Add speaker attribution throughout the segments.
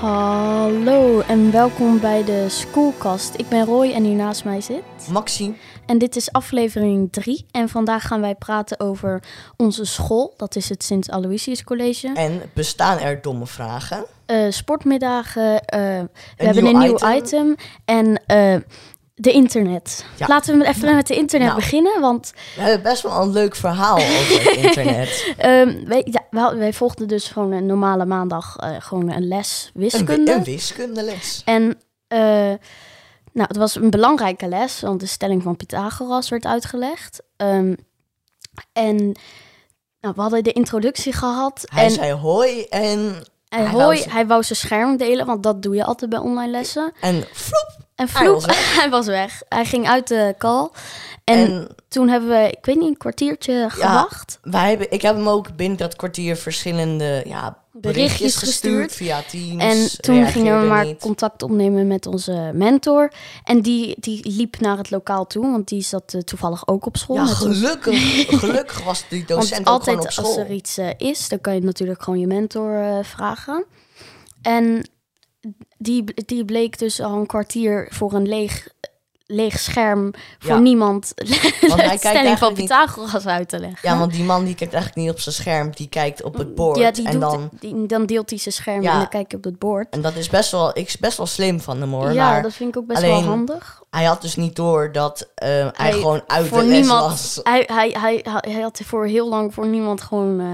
Speaker 1: Hallo en welkom bij de Schoolkast. Ik ben Roy en hier naast mij zit.
Speaker 2: Maxime.
Speaker 1: En dit is aflevering 3. En vandaag gaan wij praten over onze school. Dat is het Sint Aloysius College.
Speaker 2: En bestaan er domme vragen?
Speaker 1: Eh, sportmiddagen. eh, we hebben
Speaker 2: nieuw
Speaker 1: een nieuw
Speaker 2: item.
Speaker 1: item. En eh, de internet.
Speaker 2: Ja.
Speaker 1: Laten we met- even met de internet
Speaker 2: Nou.
Speaker 1: beginnen. Want
Speaker 2: We hebben best wel een leuk verhaal over het internet.
Speaker 1: ehm, wij, ja, we hadden- wij volgden dus gewoon een normale maandag eh, gewoon een les
Speaker 2: Een,
Speaker 1: wiskunde.
Speaker 2: wi- een wiskundeles.
Speaker 1: En eh, nou, het was een belangrijke les, want de stelling van Pythagoras werd uitgelegd. Ehm, en nou, we hadden de introductie gehad.
Speaker 2: Hij
Speaker 1: en
Speaker 2: zei hoi en,
Speaker 1: en
Speaker 2: hij
Speaker 1: hij,
Speaker 2: wou
Speaker 1: wou
Speaker 2: ze-
Speaker 1: hij wou zijn scherm delen, want dat doe je altijd bij online lessen.
Speaker 2: en floep.
Speaker 1: En
Speaker 2: Hij
Speaker 1: vloep,
Speaker 2: was
Speaker 1: hij was weg. Hij ging uit de call. En,
Speaker 2: En,
Speaker 1: toen hebben we, ik weet niet, een kwartiertje gewacht.
Speaker 2: wij hebben, ik heb hem ook binnen dat kwartier verschillende ja, berichtjes,
Speaker 1: Berichtjes
Speaker 2: gestuurd, eh,
Speaker 1: gestuurd.
Speaker 2: via Teams.
Speaker 1: En toen gingen we
Speaker 2: reageerde
Speaker 1: maar
Speaker 2: niet.
Speaker 1: contact opnemen met onze mentor. En die, die liep naar het lokaal toe, want die zat eh, toevallig ook op school.
Speaker 2: Ja,
Speaker 1: met ons.
Speaker 2: gelukkig, gelukkig was die
Speaker 1: Want
Speaker 2: docent ook gewoon op
Speaker 1: altijd
Speaker 2: school.
Speaker 1: als er iets eh, is, dan kan je natuurlijk gewoon je mentor eh, vragen. En die, die bleek dus al een kwartier voor een leeg, leeg scherm voor
Speaker 2: Ja.
Speaker 1: niemand de
Speaker 2: kijkt
Speaker 1: stelling van
Speaker 2: eigenlijk niet-
Speaker 1: Pythagoras uit te leggen.
Speaker 2: Ja, want die man die kijkt eigenlijk niet op zijn scherm, die kijkt op het bord.
Speaker 1: Mm, Ja, die
Speaker 2: en
Speaker 1: doet,
Speaker 2: dan,
Speaker 1: die- dan deelt hij zijn scherm
Speaker 2: Ja.
Speaker 1: en dan kijk je op het bord.
Speaker 2: en dat is best wel, ik, best wel slim van hem hoor.
Speaker 1: ja,
Speaker 2: maar
Speaker 1: dat vind ik ook best
Speaker 2: alleen
Speaker 1: wel handig.
Speaker 2: Hij had dus niet door dat eh, hij,
Speaker 1: Hij-
Speaker 2: gewoon uit
Speaker 1: Voor
Speaker 2: de les
Speaker 1: niemand.
Speaker 2: was
Speaker 1: Hij, hij, hij, hij, hij had voor heel lang voor niemand gewoon eh,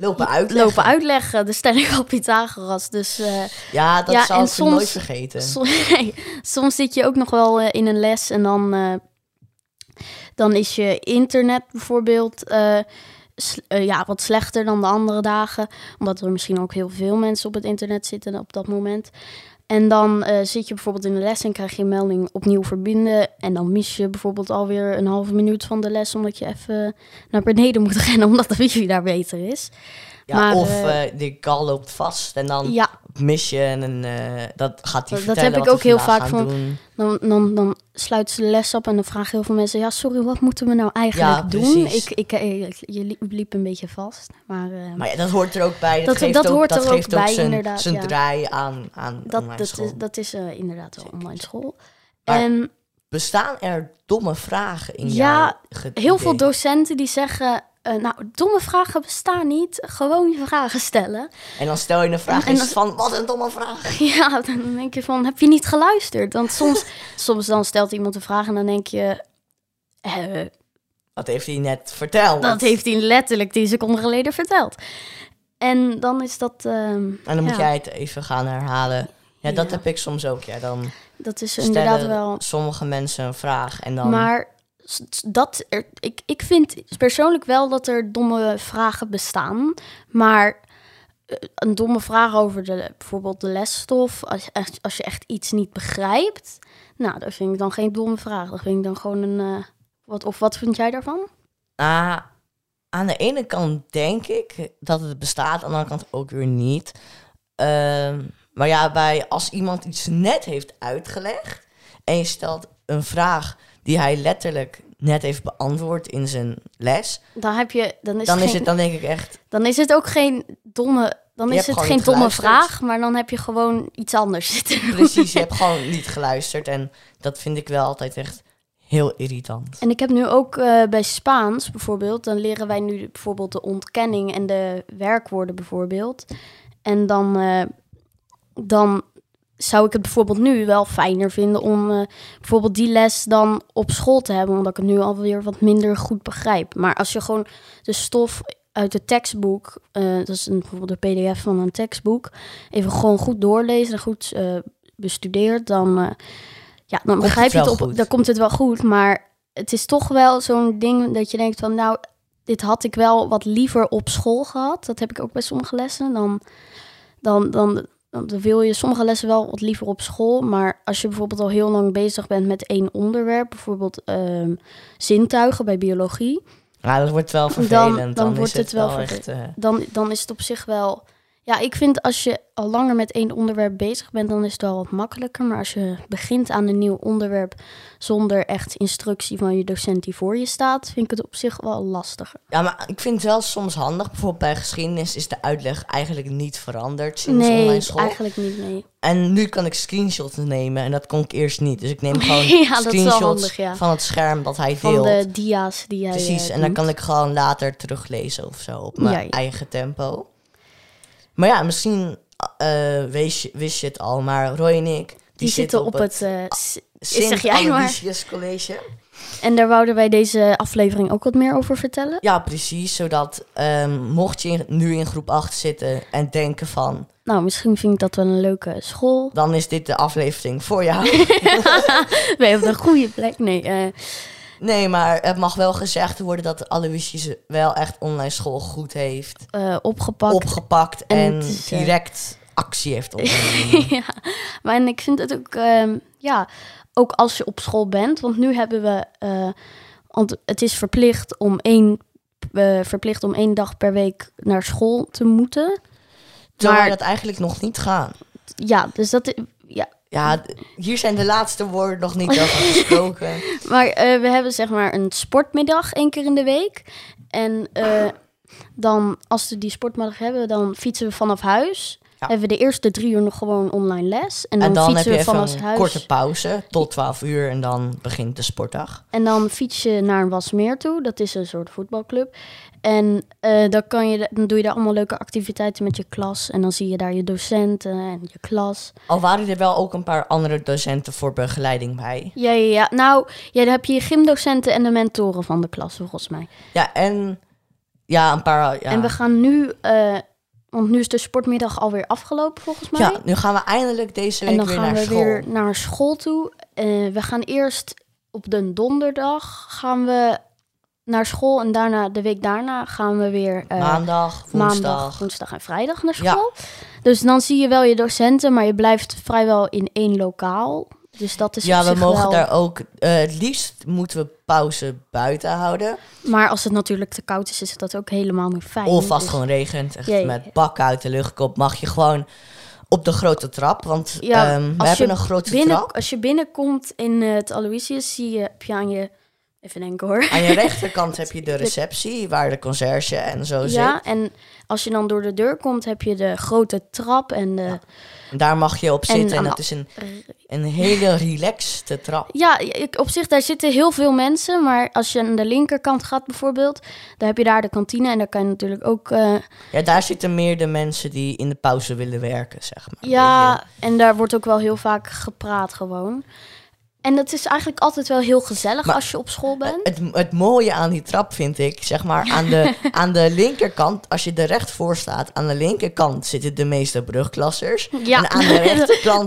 Speaker 2: lopen uitleggen.
Speaker 1: lopen uitleggen, de stelling van Pythagoras. Dus eh,
Speaker 2: Ja, dat
Speaker 1: Ja,
Speaker 2: zal
Speaker 1: en
Speaker 2: ik hem nooit
Speaker 1: soms-
Speaker 2: vergeten.
Speaker 1: Soms, nee, soms zit je ook nog wel eh, in een les en dan, eh, dan is je internet bijvoorbeeld eh, s- eh, ja, wat slechter dan de andere dagen. Omdat er misschien ook heel veel mensen op het internet zitten op dat moment. En dan eh, zit je bijvoorbeeld in de les en krijg je een melding opnieuw verbinden. En dan mis je bijvoorbeeld alweer een halve minuut van de les omdat je even naar beneden moet rennen omdat de wifi daar beter is.
Speaker 2: ja,
Speaker 1: maar,
Speaker 2: of
Speaker 1: eh,
Speaker 2: eh, de gal loopt vast en dan
Speaker 1: Ja,
Speaker 2: mis je en eh, dat gaat hij
Speaker 1: Dat- dat heb
Speaker 2: vertellen
Speaker 1: ik
Speaker 2: wat we
Speaker 1: ook heel
Speaker 2: vandaag
Speaker 1: vaak
Speaker 2: gaan
Speaker 1: van-
Speaker 2: doen.
Speaker 1: Dan, dan, dan sluiten ze de les op en dan vragen heel veel mensen... ja, sorry, wat moeten we nou eigenlijk
Speaker 2: Ja,
Speaker 1: doen?
Speaker 2: precies.
Speaker 1: Ik, ik, eh, ik- je liep, liep een beetje vast, maar... eh,
Speaker 2: Maar ja, dat hoort er ook bij. Dat,
Speaker 1: Dat-
Speaker 2: geeft
Speaker 1: dat
Speaker 2: ook,
Speaker 1: hoort
Speaker 2: dat
Speaker 1: er ook
Speaker 2: geeft ook
Speaker 1: bij,
Speaker 2: zijn,
Speaker 1: inderdaad,
Speaker 2: zijn
Speaker 1: ja.
Speaker 2: draai aan, aan online
Speaker 1: dat, dat,
Speaker 2: school.
Speaker 1: is, dat is eh, inderdaad wel online school. Ehm,
Speaker 2: Maar-
Speaker 1: en
Speaker 2: Bestaan er domme vragen in
Speaker 1: Ja,
Speaker 2: jouw
Speaker 1: heel veel docenten die zeggen... eh, nou, domme vragen bestaan niet. Gewoon je vragen stellen.
Speaker 2: En dan stel je een vraag
Speaker 1: En- en
Speaker 2: is van, wat een domme vraag.
Speaker 1: Ja, dan denk je van, heb je niet geluisterd? Want soms, soms dan stelt iemand een vraag en dan denk je... eh,
Speaker 2: Wat heeft hij net verteld?
Speaker 1: Dat heeft hij letterlijk tien seconden geleden verteld. En dan is dat. ehm,
Speaker 2: En dan moet
Speaker 1: ja,
Speaker 2: jij het even gaan herhalen. Ja, dat
Speaker 1: Ja.
Speaker 2: heb ik soms ook. Ja, dan
Speaker 1: Dat is
Speaker 2: stellen
Speaker 1: inderdaad wel.
Speaker 2: sommige mensen een vraag en dan...
Speaker 1: Maar s- s- dat er, ik, ik vind persoonlijk wel dat er domme vragen bestaan. Maar eh, een domme vraag over de, bijvoorbeeld de lesstof. Als, je echt- als je echt iets niet begrijpt. Nou, dat vind ik dan geen domme vraag. Dat vind ik dan gewoon een. eh, wat, of wat vind jij daarvan?
Speaker 2: Ah, aan de ene kant denk ik dat het bestaat, aan de andere kant ook weer niet. Ehm, maar ja, bij, als iemand iets net heeft uitgelegd en je stelt een vraag die hij letterlijk net heeft beantwoord in zijn les,
Speaker 1: Dan, heb je, dan, is,
Speaker 2: dan,
Speaker 1: het
Speaker 2: is
Speaker 1: Dus geen-
Speaker 2: het, dan denk ik echt,
Speaker 1: Dan is het ook geen domme. Dan
Speaker 2: Je
Speaker 1: is
Speaker 2: hebt
Speaker 1: het
Speaker 2: gewoon
Speaker 1: geen
Speaker 2: niet
Speaker 1: domme
Speaker 2: geluisterd.
Speaker 1: vraag, maar dan heb je gewoon iets anders zitten. doen.
Speaker 2: precies, je hebt gewoon niet geluisterd. En dat vind ik wel altijd echt heel irritant.
Speaker 1: En ik heb nu ook eh, bij Spaans bijvoorbeeld, dan leren wij nu bijvoorbeeld de ontkenning en de werkwoorden bijvoorbeeld. En dan, eh, dan zou ik het bijvoorbeeld nu wel fijner vinden om eh, bijvoorbeeld die les dan op school te hebben, omdat ik het nu alweer wat minder goed begrijp. Maar als je gewoon de stof uit het tekstboek, eh, dat is een, bijvoorbeeld de PDF van een tekstboek, even gewoon goed doorlezen en goed eh, bestudeerd, dan, eh, ja, dan begrijp je
Speaker 2: wel
Speaker 1: het op,
Speaker 2: goed.
Speaker 1: dan komt het wel goed. Maar het is toch wel zo'n ding dat je denkt van, nou, dit had ik wel wat liever op school gehad. Dat heb ik ook bij sommige lessen. Dan, dan, dan, dan wil je sommige lessen wel wat liever op school. Maar als je bijvoorbeeld al heel lang bezig bent met één onderwerp, bijvoorbeeld ehm, zintuigen bij biologie,
Speaker 2: Ja, dat wordt wel
Speaker 1: Dan-
Speaker 2: vervelend. Dan,
Speaker 1: dan
Speaker 2: is
Speaker 1: wordt
Speaker 2: het
Speaker 1: het wel
Speaker 2: wel echt... eh,
Speaker 1: dan, dan is het op zich wel. Ja, ik vind als je al langer met één onderwerp bezig bent, dan is het wel wat makkelijker. Maar als je begint aan een nieuw onderwerp zonder echt instructie van je docent die voor je staat, vind ik het op zich wel lastiger.
Speaker 2: Ja, maar ik vind het wel soms handig. Bijvoorbeeld bij geschiedenis is de uitleg eigenlijk niet veranderd sinds
Speaker 1: Nee,
Speaker 2: online school.
Speaker 1: eigenlijk niet, nee.
Speaker 2: En nu kan ik screenshots nemen en dat kon ik eerst niet. Dus ik neem gewoon
Speaker 1: Ja, dat is wel
Speaker 2: screenshots
Speaker 1: handig, ja.
Speaker 2: van het scherm dat hij
Speaker 1: Van
Speaker 2: deelt.
Speaker 1: de dia's die jij... eh,
Speaker 2: Precies, en dan
Speaker 1: doet.
Speaker 2: kan ik gewoon later teruglezen of zo op mijn
Speaker 1: Ja, ja.
Speaker 2: eigen tempo. Maar ja, misschien eh wist, je, wist je het al, maar Roy en ik... Die,
Speaker 1: Die zitten op het... eh, s- zeg
Speaker 2: sint
Speaker 1: jij maar.
Speaker 2: Aloysius College.
Speaker 1: en daar wouden wij deze aflevering ook wat meer over vertellen.
Speaker 2: Ja, precies. Zodat ehm, mocht je in- nu in groep 8 zitten en denken van...
Speaker 1: Nou, misschien vind ik dat wel een leuke school.
Speaker 2: dan is dit de aflevering voor jou.
Speaker 1: Wij op een goede plek. Nee, eh,
Speaker 2: nee, maar het mag wel gezegd worden dat de Aloysius wel echt online school goed heeft...
Speaker 1: eh, opgepakt.
Speaker 2: opgepakt en,
Speaker 1: En het is, eh,
Speaker 2: direct actie heeft ondernomen.
Speaker 1: ja, maar en ik vind het ook, ehm, ja, ook als je op school bent, want nu hebben we, eh, want het is verplicht om één, eh, verplicht om één dag per week naar school te moeten.
Speaker 2: Terwijl
Speaker 1: Maar-
Speaker 2: we dat eigenlijk nog niet gaan.
Speaker 1: Ja, dus dat, i- ja,
Speaker 2: Ja, d- hier zijn de laatste woorden nog niet over gesproken.
Speaker 1: maar eh, we hebben zeg maar een sportmiddag één keer in de week en eh, dan als we die sportmiddag hebben, dan fietsen we vanaf huis.
Speaker 2: Ja.
Speaker 1: Hebben we de eerste drie uur nog gewoon online les. En dan,
Speaker 2: En dan heb
Speaker 1: fietsen
Speaker 2: je
Speaker 1: we
Speaker 2: even
Speaker 1: vanaf
Speaker 2: een
Speaker 1: huis.
Speaker 2: korte pauze tot 12 uur en dan begint de sportdag.
Speaker 1: En dan fiets je naar een Wasmeer toe. Dat is een soort voetbalclub. En eh, dan, kan je, dan doe je daar allemaal leuke activiteiten met je klas. En dan zie je daar je docenten en je klas.
Speaker 2: Al waren er wel ook een paar andere docenten voor begeleiding bij.
Speaker 1: Ja, ja, ja. Nou, ja, dan heb je je gymdocenten en de mentoren van de klas, volgens mij.
Speaker 2: Ja, en ja, een paar. Ja.
Speaker 1: En we gaan nu... eh, want nu is de sportmiddag alweer afgelopen, volgens mij.
Speaker 2: ja, nu gaan we eindelijk deze
Speaker 1: en
Speaker 2: week
Speaker 1: dan
Speaker 2: weer
Speaker 1: gaan
Speaker 2: naar
Speaker 1: we
Speaker 2: school.
Speaker 1: weer naar school toe. Eh, we gaan eerst op de donderdag gaan we naar school. En daarna, de week daarna gaan we weer... eh,
Speaker 2: Maandag,
Speaker 1: maandag,
Speaker 2: woensdag.
Speaker 1: woensdag en vrijdag naar
Speaker 2: Ja.
Speaker 1: school. Dus dan zie je wel je docenten, maar je blijft vrijwel in één lokaal. Dus dat is op
Speaker 2: Ja, we
Speaker 1: zich
Speaker 2: mogen
Speaker 1: wel...
Speaker 2: daar ook. eh, het liefst moeten we pauze buiten houden.
Speaker 1: Maar als het natuurlijk te koud is, is dat ook helemaal niet fijn.
Speaker 2: Of als
Speaker 1: Dus-
Speaker 2: het gewoon regent, echt
Speaker 1: Ja, ja, ja.
Speaker 2: met bakken uit de luchtkop, mag je gewoon op de grote trap. Want
Speaker 1: Ja,
Speaker 2: ehm, we
Speaker 1: als
Speaker 2: hebben
Speaker 1: je
Speaker 2: een grote
Speaker 1: binnen,
Speaker 2: trap.
Speaker 1: Als je binnenkomt in eh, het Aloysius, zie je, heb je aan je... Even denken hoor.
Speaker 2: Aan je rechterkant heb je de receptie, waar de conciërge en zo
Speaker 1: Ja, en als je dan door de deur komt, heb je de grote trap en de...
Speaker 2: zit. Daar mag je op
Speaker 1: En
Speaker 2: zitten en,
Speaker 1: aan
Speaker 2: dat
Speaker 1: de-
Speaker 2: is een, een hele relaxte trap.
Speaker 1: Ja, ik- op zich, daar zitten heel veel mensen. Maar als je aan de linkerkant gaat bijvoorbeeld, dan heb je daar de kantine. En daar kan je natuurlijk ook... eh,
Speaker 2: Ja, daar zitten meer de mensen die in de pauze willen werken, zeg maar. Een beetje-
Speaker 1: Ja, en daar wordt ook wel heel vaak gepraat gewoon. En dat is eigenlijk altijd wel heel gezellig
Speaker 2: Maar-
Speaker 1: als je op school bent.
Speaker 2: Het, het mooie aan die trap vind ik, zeg maar, aan de, aan de linkerkant, als je er recht voor staat, aan de linkerkant zitten de meeste brugklassers.
Speaker 1: Ja.
Speaker 2: En aan de rechterkant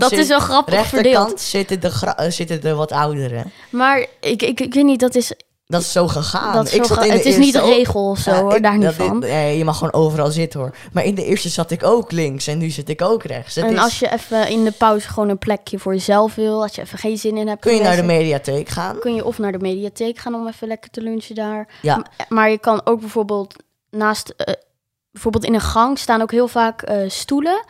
Speaker 1: dat is
Speaker 2: zit-
Speaker 1: wel grappig verdeeld.
Speaker 2: rechterkant zitten de, gra- eh, zitten de wat ouderen.
Speaker 1: Maar ik, ik, ik weet niet, dat is,
Speaker 2: Dat is zo gegaan.
Speaker 1: dat is
Speaker 2: Ah, ik
Speaker 1: zo
Speaker 2: zat
Speaker 1: ga-
Speaker 2: in de
Speaker 1: Het is niet
Speaker 2: eerste
Speaker 1: de
Speaker 2: ook-
Speaker 1: regel of zo
Speaker 2: Ja,
Speaker 1: hoor,
Speaker 2: ik-
Speaker 1: daar niet
Speaker 2: dat-
Speaker 1: van.
Speaker 2: nee, je mag gewoon overal zitten hoor. Maar in de eerste zat ik ook links en nu zit ik ook rechts. Het
Speaker 1: En
Speaker 2: is-
Speaker 1: als je even in de pauze gewoon een plekje voor jezelf wil, als je even geen zin in hebt.
Speaker 2: kun je naar de
Speaker 1: geweest,
Speaker 2: mediatheek gaan?
Speaker 1: kun je of naar de mediatheek gaan om even lekker te lunchen daar.
Speaker 2: Ja,
Speaker 1: Maar je kan ook bijvoorbeeld naast, eh, bijvoorbeeld in een gang staan ook heel vaak eh, stoelen.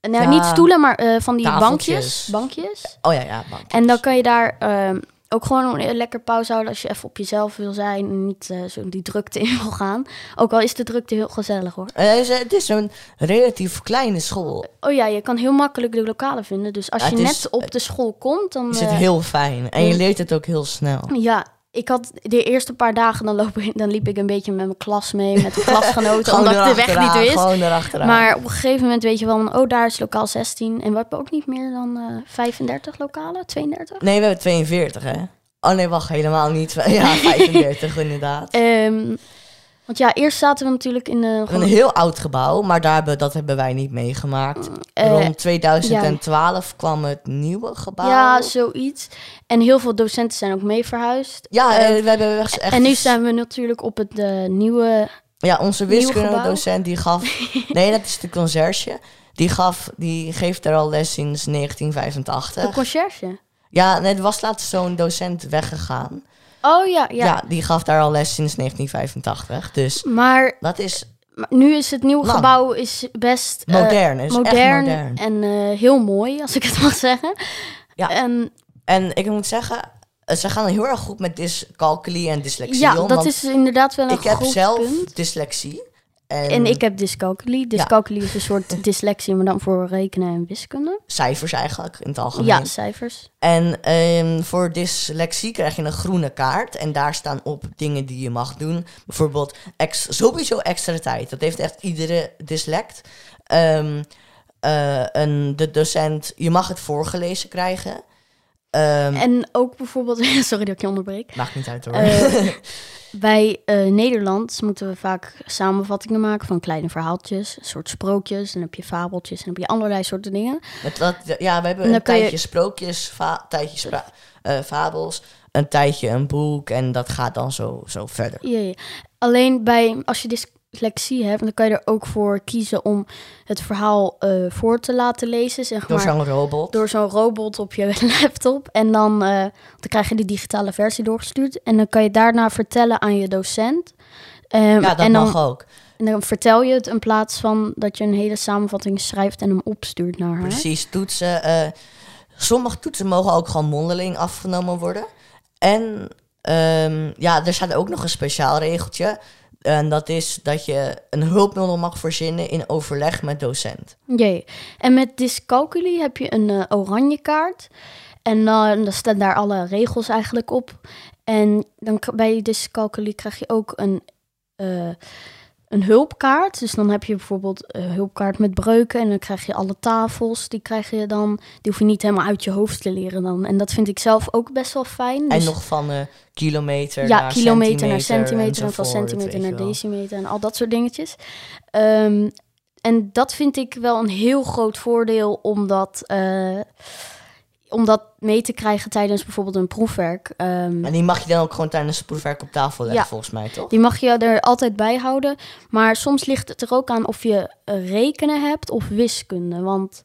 Speaker 1: Nou,
Speaker 2: Ja.
Speaker 1: niet stoelen, maar eh, van die
Speaker 2: Tafeltjes.
Speaker 1: bankjes. Bankjes.
Speaker 2: oh ja, ja. bankjes.
Speaker 1: En dan kan je daar ehm, ook gewoon een lekker pauze houden als je even op jezelf wil zijn en niet eh, zo die drukte in wil gaan. Ook al is de drukte heel gezellig hoor.
Speaker 2: Eh, het is- het is een relatief kleine school.
Speaker 1: Oh ja, je kan heel makkelijk de lokalen vinden. Dus als
Speaker 2: Ja,
Speaker 1: je
Speaker 2: het
Speaker 1: net
Speaker 2: is- eh,
Speaker 1: op de school komt, dan.
Speaker 2: Is het
Speaker 1: eh,
Speaker 2: heel fijn. En je
Speaker 1: mm.
Speaker 2: leert het ook heel snel.
Speaker 1: Ja, ik had de eerste paar dagen, dan, loop, ik- dan liep ik een beetje met mijn klas mee, met de klasgenoten,
Speaker 2: Gewoon
Speaker 1: omdat ik de weg
Speaker 2: erachteraan,
Speaker 1: niet wist.
Speaker 2: Gewoon erachteraan.
Speaker 1: Maar op een gegeven moment weet je wel, van, oh daar is lokaal 16. En we hebben ook niet meer dan eh, 35 lokalen, 32.
Speaker 2: Nee, we hebben 42 hè. Oh nee, wacht, helemaal niet. Ja, 35 inderdaad.
Speaker 1: Ehm, want ja, eerst zaten we natuurlijk in eh,
Speaker 2: Een
Speaker 1: gewoon
Speaker 2: heel oud gebouw, maar daar hebben, dat hebben wij niet meegemaakt.
Speaker 1: eh,
Speaker 2: Rond 2012 kwam het nieuwe gebouw.
Speaker 1: Ja, zoiets. En heel veel docenten zijn ook mee verhuisd.
Speaker 2: Ja,
Speaker 1: Eh,
Speaker 2: eh, we hebben echt...
Speaker 1: en nu zijn we natuurlijk op het eh, nieuwe...
Speaker 2: Ja, onze
Speaker 1: nieuw
Speaker 2: wiskundedocent die gaf... nee, dat is de conciërge. Die, gaf, die geeft er al les sinds
Speaker 1: De
Speaker 2: 1985.
Speaker 1: conciërge.
Speaker 2: Ja, net was laatst zo'n docent weggegaan.
Speaker 1: Oh ja, ja.
Speaker 2: Ja. die gaf daar al les sinds 1985. Dus
Speaker 1: Maar,
Speaker 2: dat is
Speaker 1: Maar nu is het nieuwe
Speaker 2: Lang.
Speaker 1: gebouw is best eh,
Speaker 2: Modern, is
Speaker 1: modern,
Speaker 2: echt modern.
Speaker 1: en eh, heel mooi, als ik het mag zeggen.
Speaker 2: Ja.
Speaker 1: En
Speaker 2: En ik moet zeggen, eh, ze gaan heel erg goed met dyscalculie en dyslexie
Speaker 1: ja,
Speaker 2: om.
Speaker 1: dat
Speaker 2: want
Speaker 1: is inderdaad wel een
Speaker 2: ik heb
Speaker 1: goed
Speaker 2: zelf
Speaker 1: punt.
Speaker 2: dyslexie. En,
Speaker 1: En ik heb dyscalculie. Dyscalculie is een soort dyslexie, maar dan voor rekenen en wiskunde.
Speaker 2: cijfers eigenlijk in het algemeen.
Speaker 1: Ja, cijfers.
Speaker 2: En ehm, voor dyslexie krijg je een groene kaart. En daar staan op dingen die je mag doen. Bijvoorbeeld ex sowieso extra tijd. Dat heeft echt iedere dyslect. Ehm, eh, een, de docent, je mag het voorgelezen krijgen. Ehm,
Speaker 1: En ook bijvoorbeeld, sorry dat ik je onderbreek.
Speaker 2: Maakt niet uit hoor.
Speaker 1: Eh, bij eh, Nederlands moeten we vaak samenvattingen maken van kleine verhaaltjes, een soort sprookjes. Dan heb je fabeltjes en dan heb je allerlei soorten dingen.
Speaker 2: Met dat, ja, we hebben
Speaker 1: Dan
Speaker 2: een
Speaker 1: kan je-
Speaker 2: tijdje sprookjes, fa- tijdje spra- eh, fabels, een tijdje een boek en dat gaat dan zo, zo verder.
Speaker 1: Ja, ja. Alleen bij, als je dyslexie hebt, dan kan je er ook voor kiezen om het verhaal eh, voor te laten lezen, zeg
Speaker 2: Door
Speaker 1: maar.
Speaker 2: zo'n robot.
Speaker 1: Door zo'n robot op je laptop. En dan, eh, dan krijg je de digitale versie doorgestuurd. En dan kan je daarna vertellen aan je docent. Ehm,
Speaker 2: ja, dat
Speaker 1: en dan,
Speaker 2: mag ook.
Speaker 1: En dan vertel je het in plaats van dat je een hele samenvatting schrijft en hem opstuurt naar haar.
Speaker 2: Precies, toetsen. eh, sommige toetsen mogen ook gewoon mondeling afgenomen worden. En ehm, ja, er staat ook nog een speciaal regeltje. En dat is dat je een hulpmiddel mag verzinnen in overleg met docent.
Speaker 1: Jee. En met dyscalculie heb je een eh, oranje kaart. En dan daar staan daar alle regels eigenlijk op. En dan k- bij dyscalculie krijg je ook een, eh, een hulpkaart. Dus dan heb je bijvoorbeeld een hulpkaart met breuken. En dan krijg je alle tafels. Die krijg je dan. Die hoef je niet helemaal uit je hoofd te leren dan. En dat vind ik zelf ook best wel fijn.
Speaker 2: En
Speaker 1: Dus-
Speaker 2: nog van eh, kilometer
Speaker 1: ja,
Speaker 2: naar
Speaker 1: kilometer naar centimeter en van
Speaker 2: enzovoort,
Speaker 1: centimeter
Speaker 2: weet
Speaker 1: naar
Speaker 2: je wel.
Speaker 1: decimeter en al dat soort dingetjes. Ehm, en dat vind ik wel een heel groot voordeel om dat, eh, om dat mee te krijgen tijdens bijvoorbeeld een proefwerk. Ehm,
Speaker 2: En die mag je dan ook gewoon tijdens het proefwerk op tafel leggen,
Speaker 1: Ja.
Speaker 2: volgens mij, toch?
Speaker 1: die mag je er altijd bij houden. Maar soms ligt het er ook aan of je eh, rekenen hebt of wiskunde. Want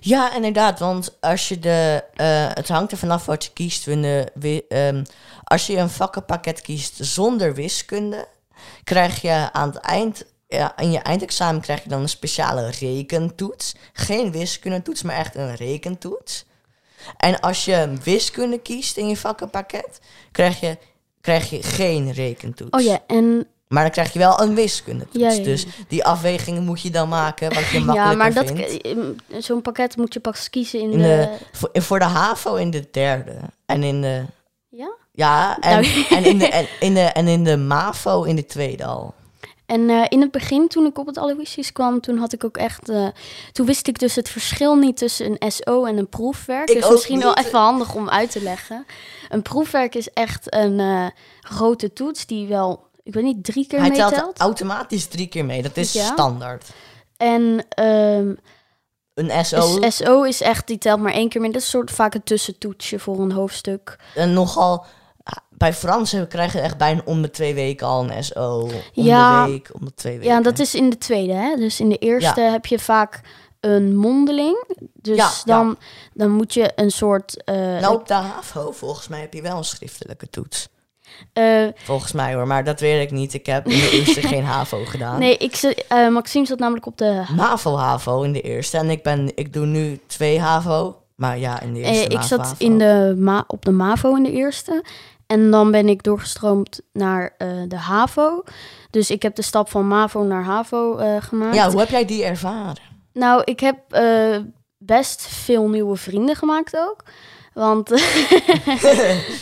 Speaker 2: Ja, inderdaad. Want als je de. eh, het hangt er vanaf wat je kiest. We- eh, we- ehm, als je een vakkenpakket kiest zonder wiskunde, krijg je aan het eind. Ja, in je eindexamen krijg je dan een speciale rekentoets. Geen wiskundetoets, maar echt een rekentoets. En als je wiskunde kiest in je vakkenpakket, krijg je, krijg je geen rekentoets.
Speaker 1: oh ja, en
Speaker 2: Maar dan krijg je wel een wiskunde.
Speaker 1: Ja, ja, ja.
Speaker 2: Dus die afwegingen moet je dan maken. Wat je makkelijker
Speaker 1: ja, maar dat
Speaker 2: vindt.
Speaker 1: eh, zo'n pakket moet je pas kiezen in,
Speaker 2: In
Speaker 1: de,
Speaker 2: de, voor, eh, voor de HAVO in de derde. En in de.
Speaker 1: ja.
Speaker 2: Ja, en,
Speaker 1: Nou.
Speaker 2: en, in de, en, in de, en in de MAVO in de tweede al.
Speaker 1: En eh, in het begin, toen ik op het Aloysius kwam, toen had ik ook echt. eh, toen wist ik dus het verschil niet tussen een SO en een proefwerk.
Speaker 2: Ik
Speaker 1: dus
Speaker 2: ook
Speaker 1: misschien wel
Speaker 2: niet.
Speaker 1: even handig om uit te leggen. Een proefwerk is echt een eh, grote toets die wel, ik weet niet, drie keer
Speaker 2: Hij
Speaker 1: meetelt.
Speaker 2: telt automatisch drie keer mee. Dat is
Speaker 1: Ja.
Speaker 2: standaard.
Speaker 1: En ehm,
Speaker 2: Een SO,
Speaker 1: S- SO is echt, die telt maar één keer mee. Dat is een soort vaak een tussentoetsje voor een hoofdstuk.
Speaker 2: en nogal. Bij Fransen krijgen we echt bijna om de twee weken al een SO. Om
Speaker 1: Ja.
Speaker 2: de week, om de twee weken.
Speaker 1: Ja, dat is in de tweede, hè? Dus in de eerste heb je vaak een mondeling. Dus
Speaker 2: Ja,
Speaker 1: dan, dan moet je een soort. eh,
Speaker 2: Nou, op de HAVO volgens mij heb je wel een schriftelijke toets.
Speaker 1: eh,
Speaker 2: Volgens mij hoor, maar dat weet ik niet. Ik heb in de eerste geen HAVO gedaan.
Speaker 1: Nee, ik zit, eh, Maxime zat namelijk op de.
Speaker 2: MAVO-HAVO in de eerste. En ik, ben, ik doe nu twee HAVO. Maar ja, in de
Speaker 1: eh,
Speaker 2: eerste
Speaker 1: ik zat
Speaker 2: MAVO.
Speaker 1: in de ma op de MAVO in de eerste. En dan ben ik doorgestroomd naar eh, de HAVO. Dus ik heb de stap van MAVO naar HAVO eh, gemaakt.
Speaker 2: Ja, hoe heb jij die ervaren?
Speaker 1: Nou, ik heb eh, best veel nieuwe vrienden gemaakt ook. Want.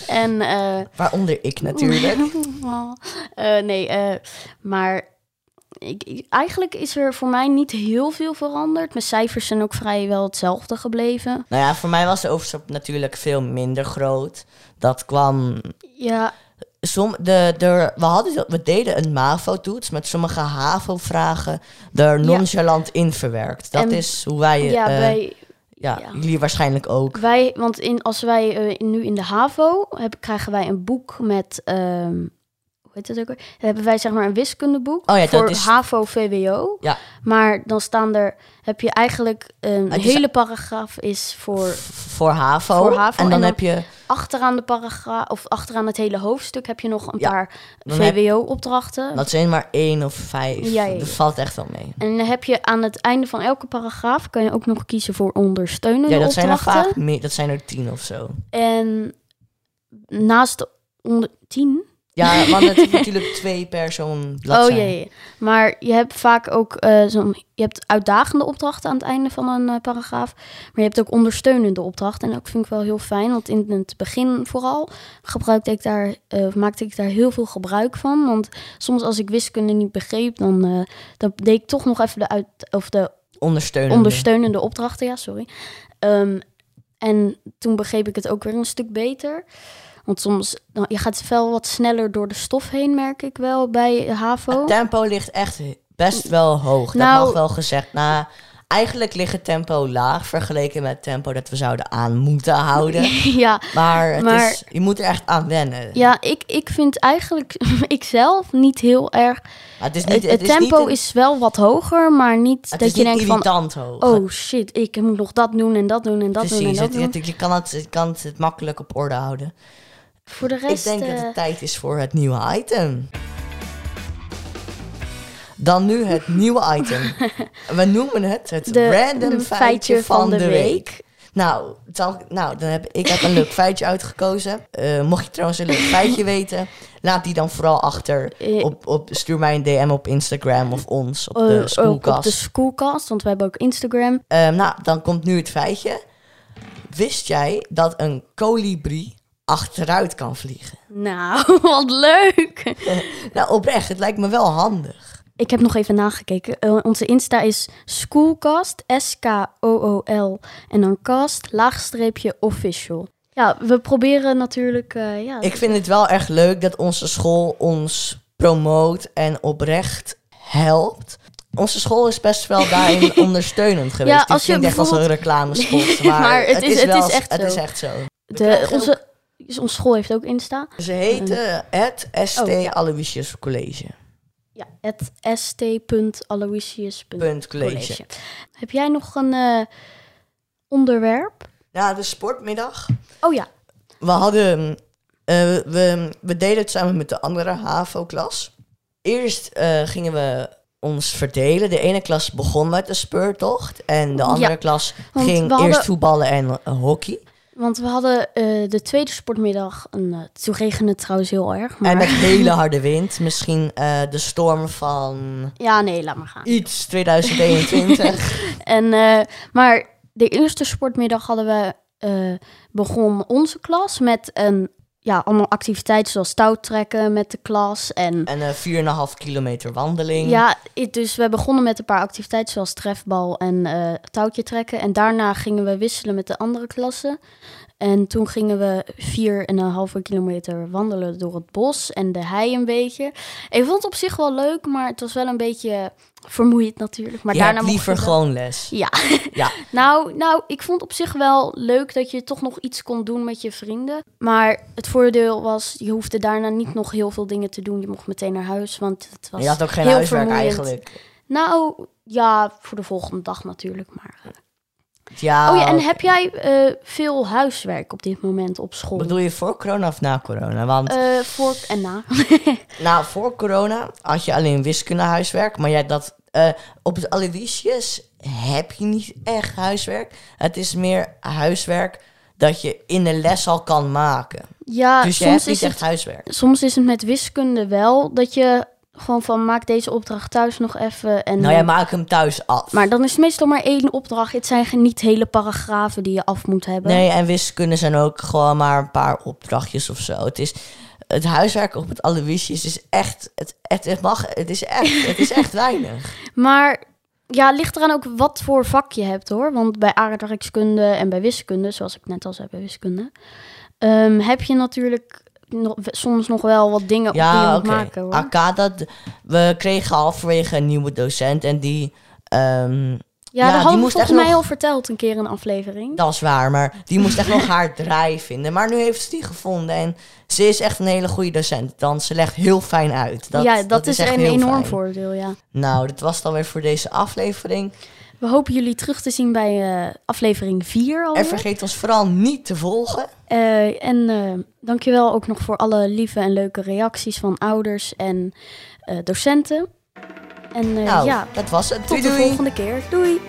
Speaker 1: en. eh,
Speaker 2: Waaronder ik natuurlijk.
Speaker 1: Wow. Eh, nee, eh, maar ik, ik- eigenlijk is er voor mij niet heel veel veranderd. Mijn cijfers zijn ook vrijwel hetzelfde gebleven.
Speaker 2: nou ja, voor mij was de overstap natuurlijk veel minder groot. Dat kwam...
Speaker 1: Ja,
Speaker 2: Som, de, de, we, hadden, we deden een MAVO-toets met sommige HAVO-vragen er nonchalant in verwerkt. Dat
Speaker 1: En-
Speaker 2: is hoe wij...
Speaker 1: ja,
Speaker 2: eh,
Speaker 1: bij,
Speaker 2: ja,
Speaker 1: ja.
Speaker 2: Jullie waarschijnlijk ook.
Speaker 1: wij, want in, als wij eh, nu in de HAVO heb, krijgen wij een boek met, ehm, hoe heet dat ook? weer? Dan hebben wij zeg maar een wiskundeboek
Speaker 2: Oh ja, dat
Speaker 1: voor
Speaker 2: is-
Speaker 1: HAVO, VWO.
Speaker 2: Ja.
Speaker 1: Maar dan staan er, heb je eigenlijk een
Speaker 2: Het is-
Speaker 1: hele paragraaf is voor
Speaker 2: Voor HAVO.
Speaker 1: Voor HAVO
Speaker 2: En dan
Speaker 1: en dan-
Speaker 2: heb je
Speaker 1: achteraan de paragraaf of achteraan het hele hoofdstuk heb je nog een
Speaker 2: Ja.
Speaker 1: paar
Speaker 2: Dan heb-
Speaker 1: VWO-opdrachten.
Speaker 2: Dat zijn maar één of vijf.
Speaker 1: Ja, ja, ja.
Speaker 2: Dat valt echt wel mee.
Speaker 1: En dan heb je aan het einde van elke paragraaf kan je ook nog kiezen voor ondersteunende
Speaker 2: Ja, dat zijn er
Speaker 1: opdrachten.
Speaker 2: vaak meer. Dat zijn er tien of zo.
Speaker 1: En naast de onder tien.
Speaker 2: Ja, want het is natuurlijk twee per zo'n bladzij.
Speaker 1: oh jee. Maar je hebt vaak ook eh, zo'n. Je hebt uitdagende opdrachten aan het einde van een eh, paragraaf. Maar je hebt ook ondersteunende opdrachten. En dat vind ik wel heel fijn. Want in het begin vooral gebruikte ik daar, eh, of maakte ik daar heel veel gebruik van. Want soms als ik wiskunde niet begreep, dan, eh, dan deed ik toch nog even de, uit, of de
Speaker 2: Ondersteunende.
Speaker 1: ondersteunende opdrachten, ja, sorry. Ehm, en toen begreep ik het ook weer een stuk beter. Want soms, nou, je gaat wel wat sneller door de stof heen, merk ik wel, bij HAVO.
Speaker 2: Het tempo ligt echt best wel hoog.
Speaker 1: Nou-
Speaker 2: dat mag wel gezegd. Nou, eigenlijk ligt het tempo laag vergeleken met het tempo dat we zouden aan moeten houden.
Speaker 1: ja,
Speaker 2: Maar, het
Speaker 1: Maar-
Speaker 2: Is, je moet er echt aan wennen.
Speaker 1: ja ik, ik vind eigenlijk, ik zelf, niet heel erg...
Speaker 2: Maar het is niet,
Speaker 1: Het, het
Speaker 2: is
Speaker 1: tempo
Speaker 2: niet een-
Speaker 1: is wel wat hoger, maar niet
Speaker 2: het
Speaker 1: dat
Speaker 2: is
Speaker 1: je
Speaker 2: niet
Speaker 1: denkt van...
Speaker 2: irritant hoog.
Speaker 1: Oh shit, ik moet nog dat doen en dat doen en dat doen en
Speaker 2: Precies,
Speaker 1: dat
Speaker 2: het,
Speaker 1: doen.
Speaker 2: het- je kan het, je kan het makkelijk op orde houden.
Speaker 1: Voor de
Speaker 2: Ik
Speaker 1: rest...
Speaker 2: denk dat
Speaker 1: eh,
Speaker 2: het tijd is voor het nieuwe item. Dan nu het nieuwe item. We noemen het het
Speaker 1: De-
Speaker 2: random
Speaker 1: de
Speaker 2: feitje, van de, week. Nou, zal, nou, dan heb ik heb een leuk feitje uitgekozen. Eh, mocht je trouwens een leuk feitje weten, laat die dan vooral achter.
Speaker 1: Eh.
Speaker 2: Op, op, stuur mij een DM op Instagram of ons Oh,
Speaker 1: Eh,
Speaker 2: op de
Speaker 1: ook op
Speaker 2: schoolkast.
Speaker 1: de schoolkast, want we hebben ook Instagram.
Speaker 2: Ehm, nou, dan komt nu het feitje. Wist jij dat een kolibrie achteruit kan vliegen?
Speaker 1: Nou, wat leuk!
Speaker 2: Nou, oprecht, het lijkt me wel handig.
Speaker 1: Ik heb nog even nagekeken. Eh, onze Insta is schoolcast, S-K-O-O-L. En dan cast, laagstreepje, official. Ja, we proberen natuurlijk... eh, ja,
Speaker 2: Ik vind het wel erg leuk dat onze school ons promoot en oprecht helpt. Onze school is best wel daarin ondersteunend geweest.
Speaker 1: Ja,
Speaker 2: Dit
Speaker 1: als je
Speaker 2: klinkt echt als een reclamespot. Maar,
Speaker 1: Maar het is- het
Speaker 2: wel,
Speaker 1: is echt
Speaker 2: het
Speaker 1: zo.
Speaker 2: is echt zo. We
Speaker 1: de,
Speaker 2: krijgen
Speaker 1: onze, is- onze school heeft ook Insta.
Speaker 2: ook- Ze heten het ST
Speaker 1: Oh, ja.
Speaker 2: Aloysius College.
Speaker 1: Ja, het st.aloysius.college.
Speaker 2: Punt college.
Speaker 1: Heb jij nog een eh, onderwerp?
Speaker 2: Na de sportmiddag
Speaker 1: Oh ja,
Speaker 2: We hadden. eh, we, we deden het samen met de andere HAVO-klas. Eerst eh, gingen we ons verdelen. De ene klas begon met de speurtocht. En de andere
Speaker 1: Ja,
Speaker 2: klas
Speaker 1: want
Speaker 2: ging
Speaker 1: we hadden-
Speaker 2: eerst voetballen en eh, hockey.
Speaker 1: want we hadden eh, de tweede sportmiddag... Een, eh, toen regende het trouwens heel erg, maar...
Speaker 2: En met hele harde wind. Misschien eh, de storm van
Speaker 1: Ja, nee, laat maar gaan.
Speaker 2: iets 2021.
Speaker 1: En, eh, maar de eerste sportmiddag hadden we eh, begon onze klas met een ja, allemaal activiteiten zoals touwtrekken met de klas. En
Speaker 2: en eh 4,5 kilometer wandeling.
Speaker 1: ja, i- dus we begonnen met een paar activiteiten zoals trefbal en eh touwtje trekken. En daarna gingen we wisselen met de andere klassen. En toen gingen we vier en een halve kilometer wandelen door het bos en de hei een beetje. Ik vond het op zich wel leuk, maar het was wel een beetje vermoeiend natuurlijk. Maar
Speaker 2: je
Speaker 1: daarna
Speaker 2: hebt
Speaker 1: mocht
Speaker 2: liever
Speaker 1: je wel-
Speaker 2: gewoon les.
Speaker 1: Ja.
Speaker 2: Ja.
Speaker 1: Nou, nou, ik vond op zich wel leuk dat je toch nog iets kon doen met je vrienden. Maar het voordeel was, je hoefde daarna niet nog heel veel dingen te doen. Je mocht meteen naar huis, want het was
Speaker 2: Je had ook geen
Speaker 1: heel
Speaker 2: huiswerk
Speaker 1: vermoeiend.
Speaker 2: eigenlijk.
Speaker 1: Nou, ja, voor de volgende dag natuurlijk. Maar.
Speaker 2: Ja,
Speaker 1: oh ja, en
Speaker 2: Ah, oké.
Speaker 1: heb jij eh, veel huiswerk op dit moment op school?
Speaker 2: Bedoel je voor corona of na corona? Want
Speaker 1: Eh, voor en na.
Speaker 2: Nou, voor corona had je alleen wiskunde huiswerk. Maar ja, dat, eh, op het Aloysius heb je niet echt huiswerk. Het is meer huiswerk dat je in de les al kan maken.
Speaker 1: ja,
Speaker 2: dus je
Speaker 1: Ah, soms
Speaker 2: hebt
Speaker 1: is
Speaker 2: niet
Speaker 1: het
Speaker 2: echt huiswerk.
Speaker 1: soms is het met wiskunde wel dat je gewoon van maak deze opdracht thuis nog even. En
Speaker 2: Nou, jij maakt hem thuis af.
Speaker 1: Maar dan is het meestal maar één opdracht. Het zijn geen- niet hele paragrafen die je af moet hebben.
Speaker 2: Nee, en wiskunde zijn ook gewoon maar een paar opdrachtjes of zo. Het is... Het huiswerk op het Aloysius is echt... Het, het, het mag... Het is echt... Het is echt weinig.
Speaker 1: Maar ja, ligt eraan ook wat voor vak je hebt hoor. Want bij aardrijkskunde en bij wiskunde, zoals ik net al zei bij wiskunde, ehm, heb je natuurlijk nog- soms nog wel wat dingen die je
Speaker 2: Ja,
Speaker 1: moet
Speaker 2: oké. Ah,
Speaker 1: maken hoor.
Speaker 2: AK, dat... We kregen halverwege een nieuwe docent en die... ehm,
Speaker 1: ja,
Speaker 2: ja,
Speaker 1: dat
Speaker 2: die
Speaker 1: hadden we
Speaker 2: moest
Speaker 1: volgens
Speaker 2: echt
Speaker 1: mij
Speaker 2: nog-
Speaker 1: al verteld een keer in een aflevering.
Speaker 2: Dat is waar, maar die moest echt nog haar draai vinden. Maar nu heeft ze die gevonden en ze is echt een hele goede docent. Dan ze legt heel fijn uit. Dat,
Speaker 1: ja, dat, is,
Speaker 2: echt
Speaker 1: een
Speaker 2: heel
Speaker 1: enorm
Speaker 2: fijn.
Speaker 1: voordeel, ja.
Speaker 2: Nou, dat was het alweer voor deze aflevering.
Speaker 1: Oh, We hopen jullie terug te zien bij eh, aflevering 4 alweer.
Speaker 2: En vergeet ons vooral niet te volgen.
Speaker 1: Eh, en eh, dankjewel ook nog voor alle lieve en leuke reacties van ouders en eh, docenten. En eh,
Speaker 2: nou,
Speaker 1: ja,
Speaker 2: dat was het.
Speaker 1: tot
Speaker 2: Doei,
Speaker 1: de
Speaker 2: Nou. doei.
Speaker 1: volgende keer. Doei!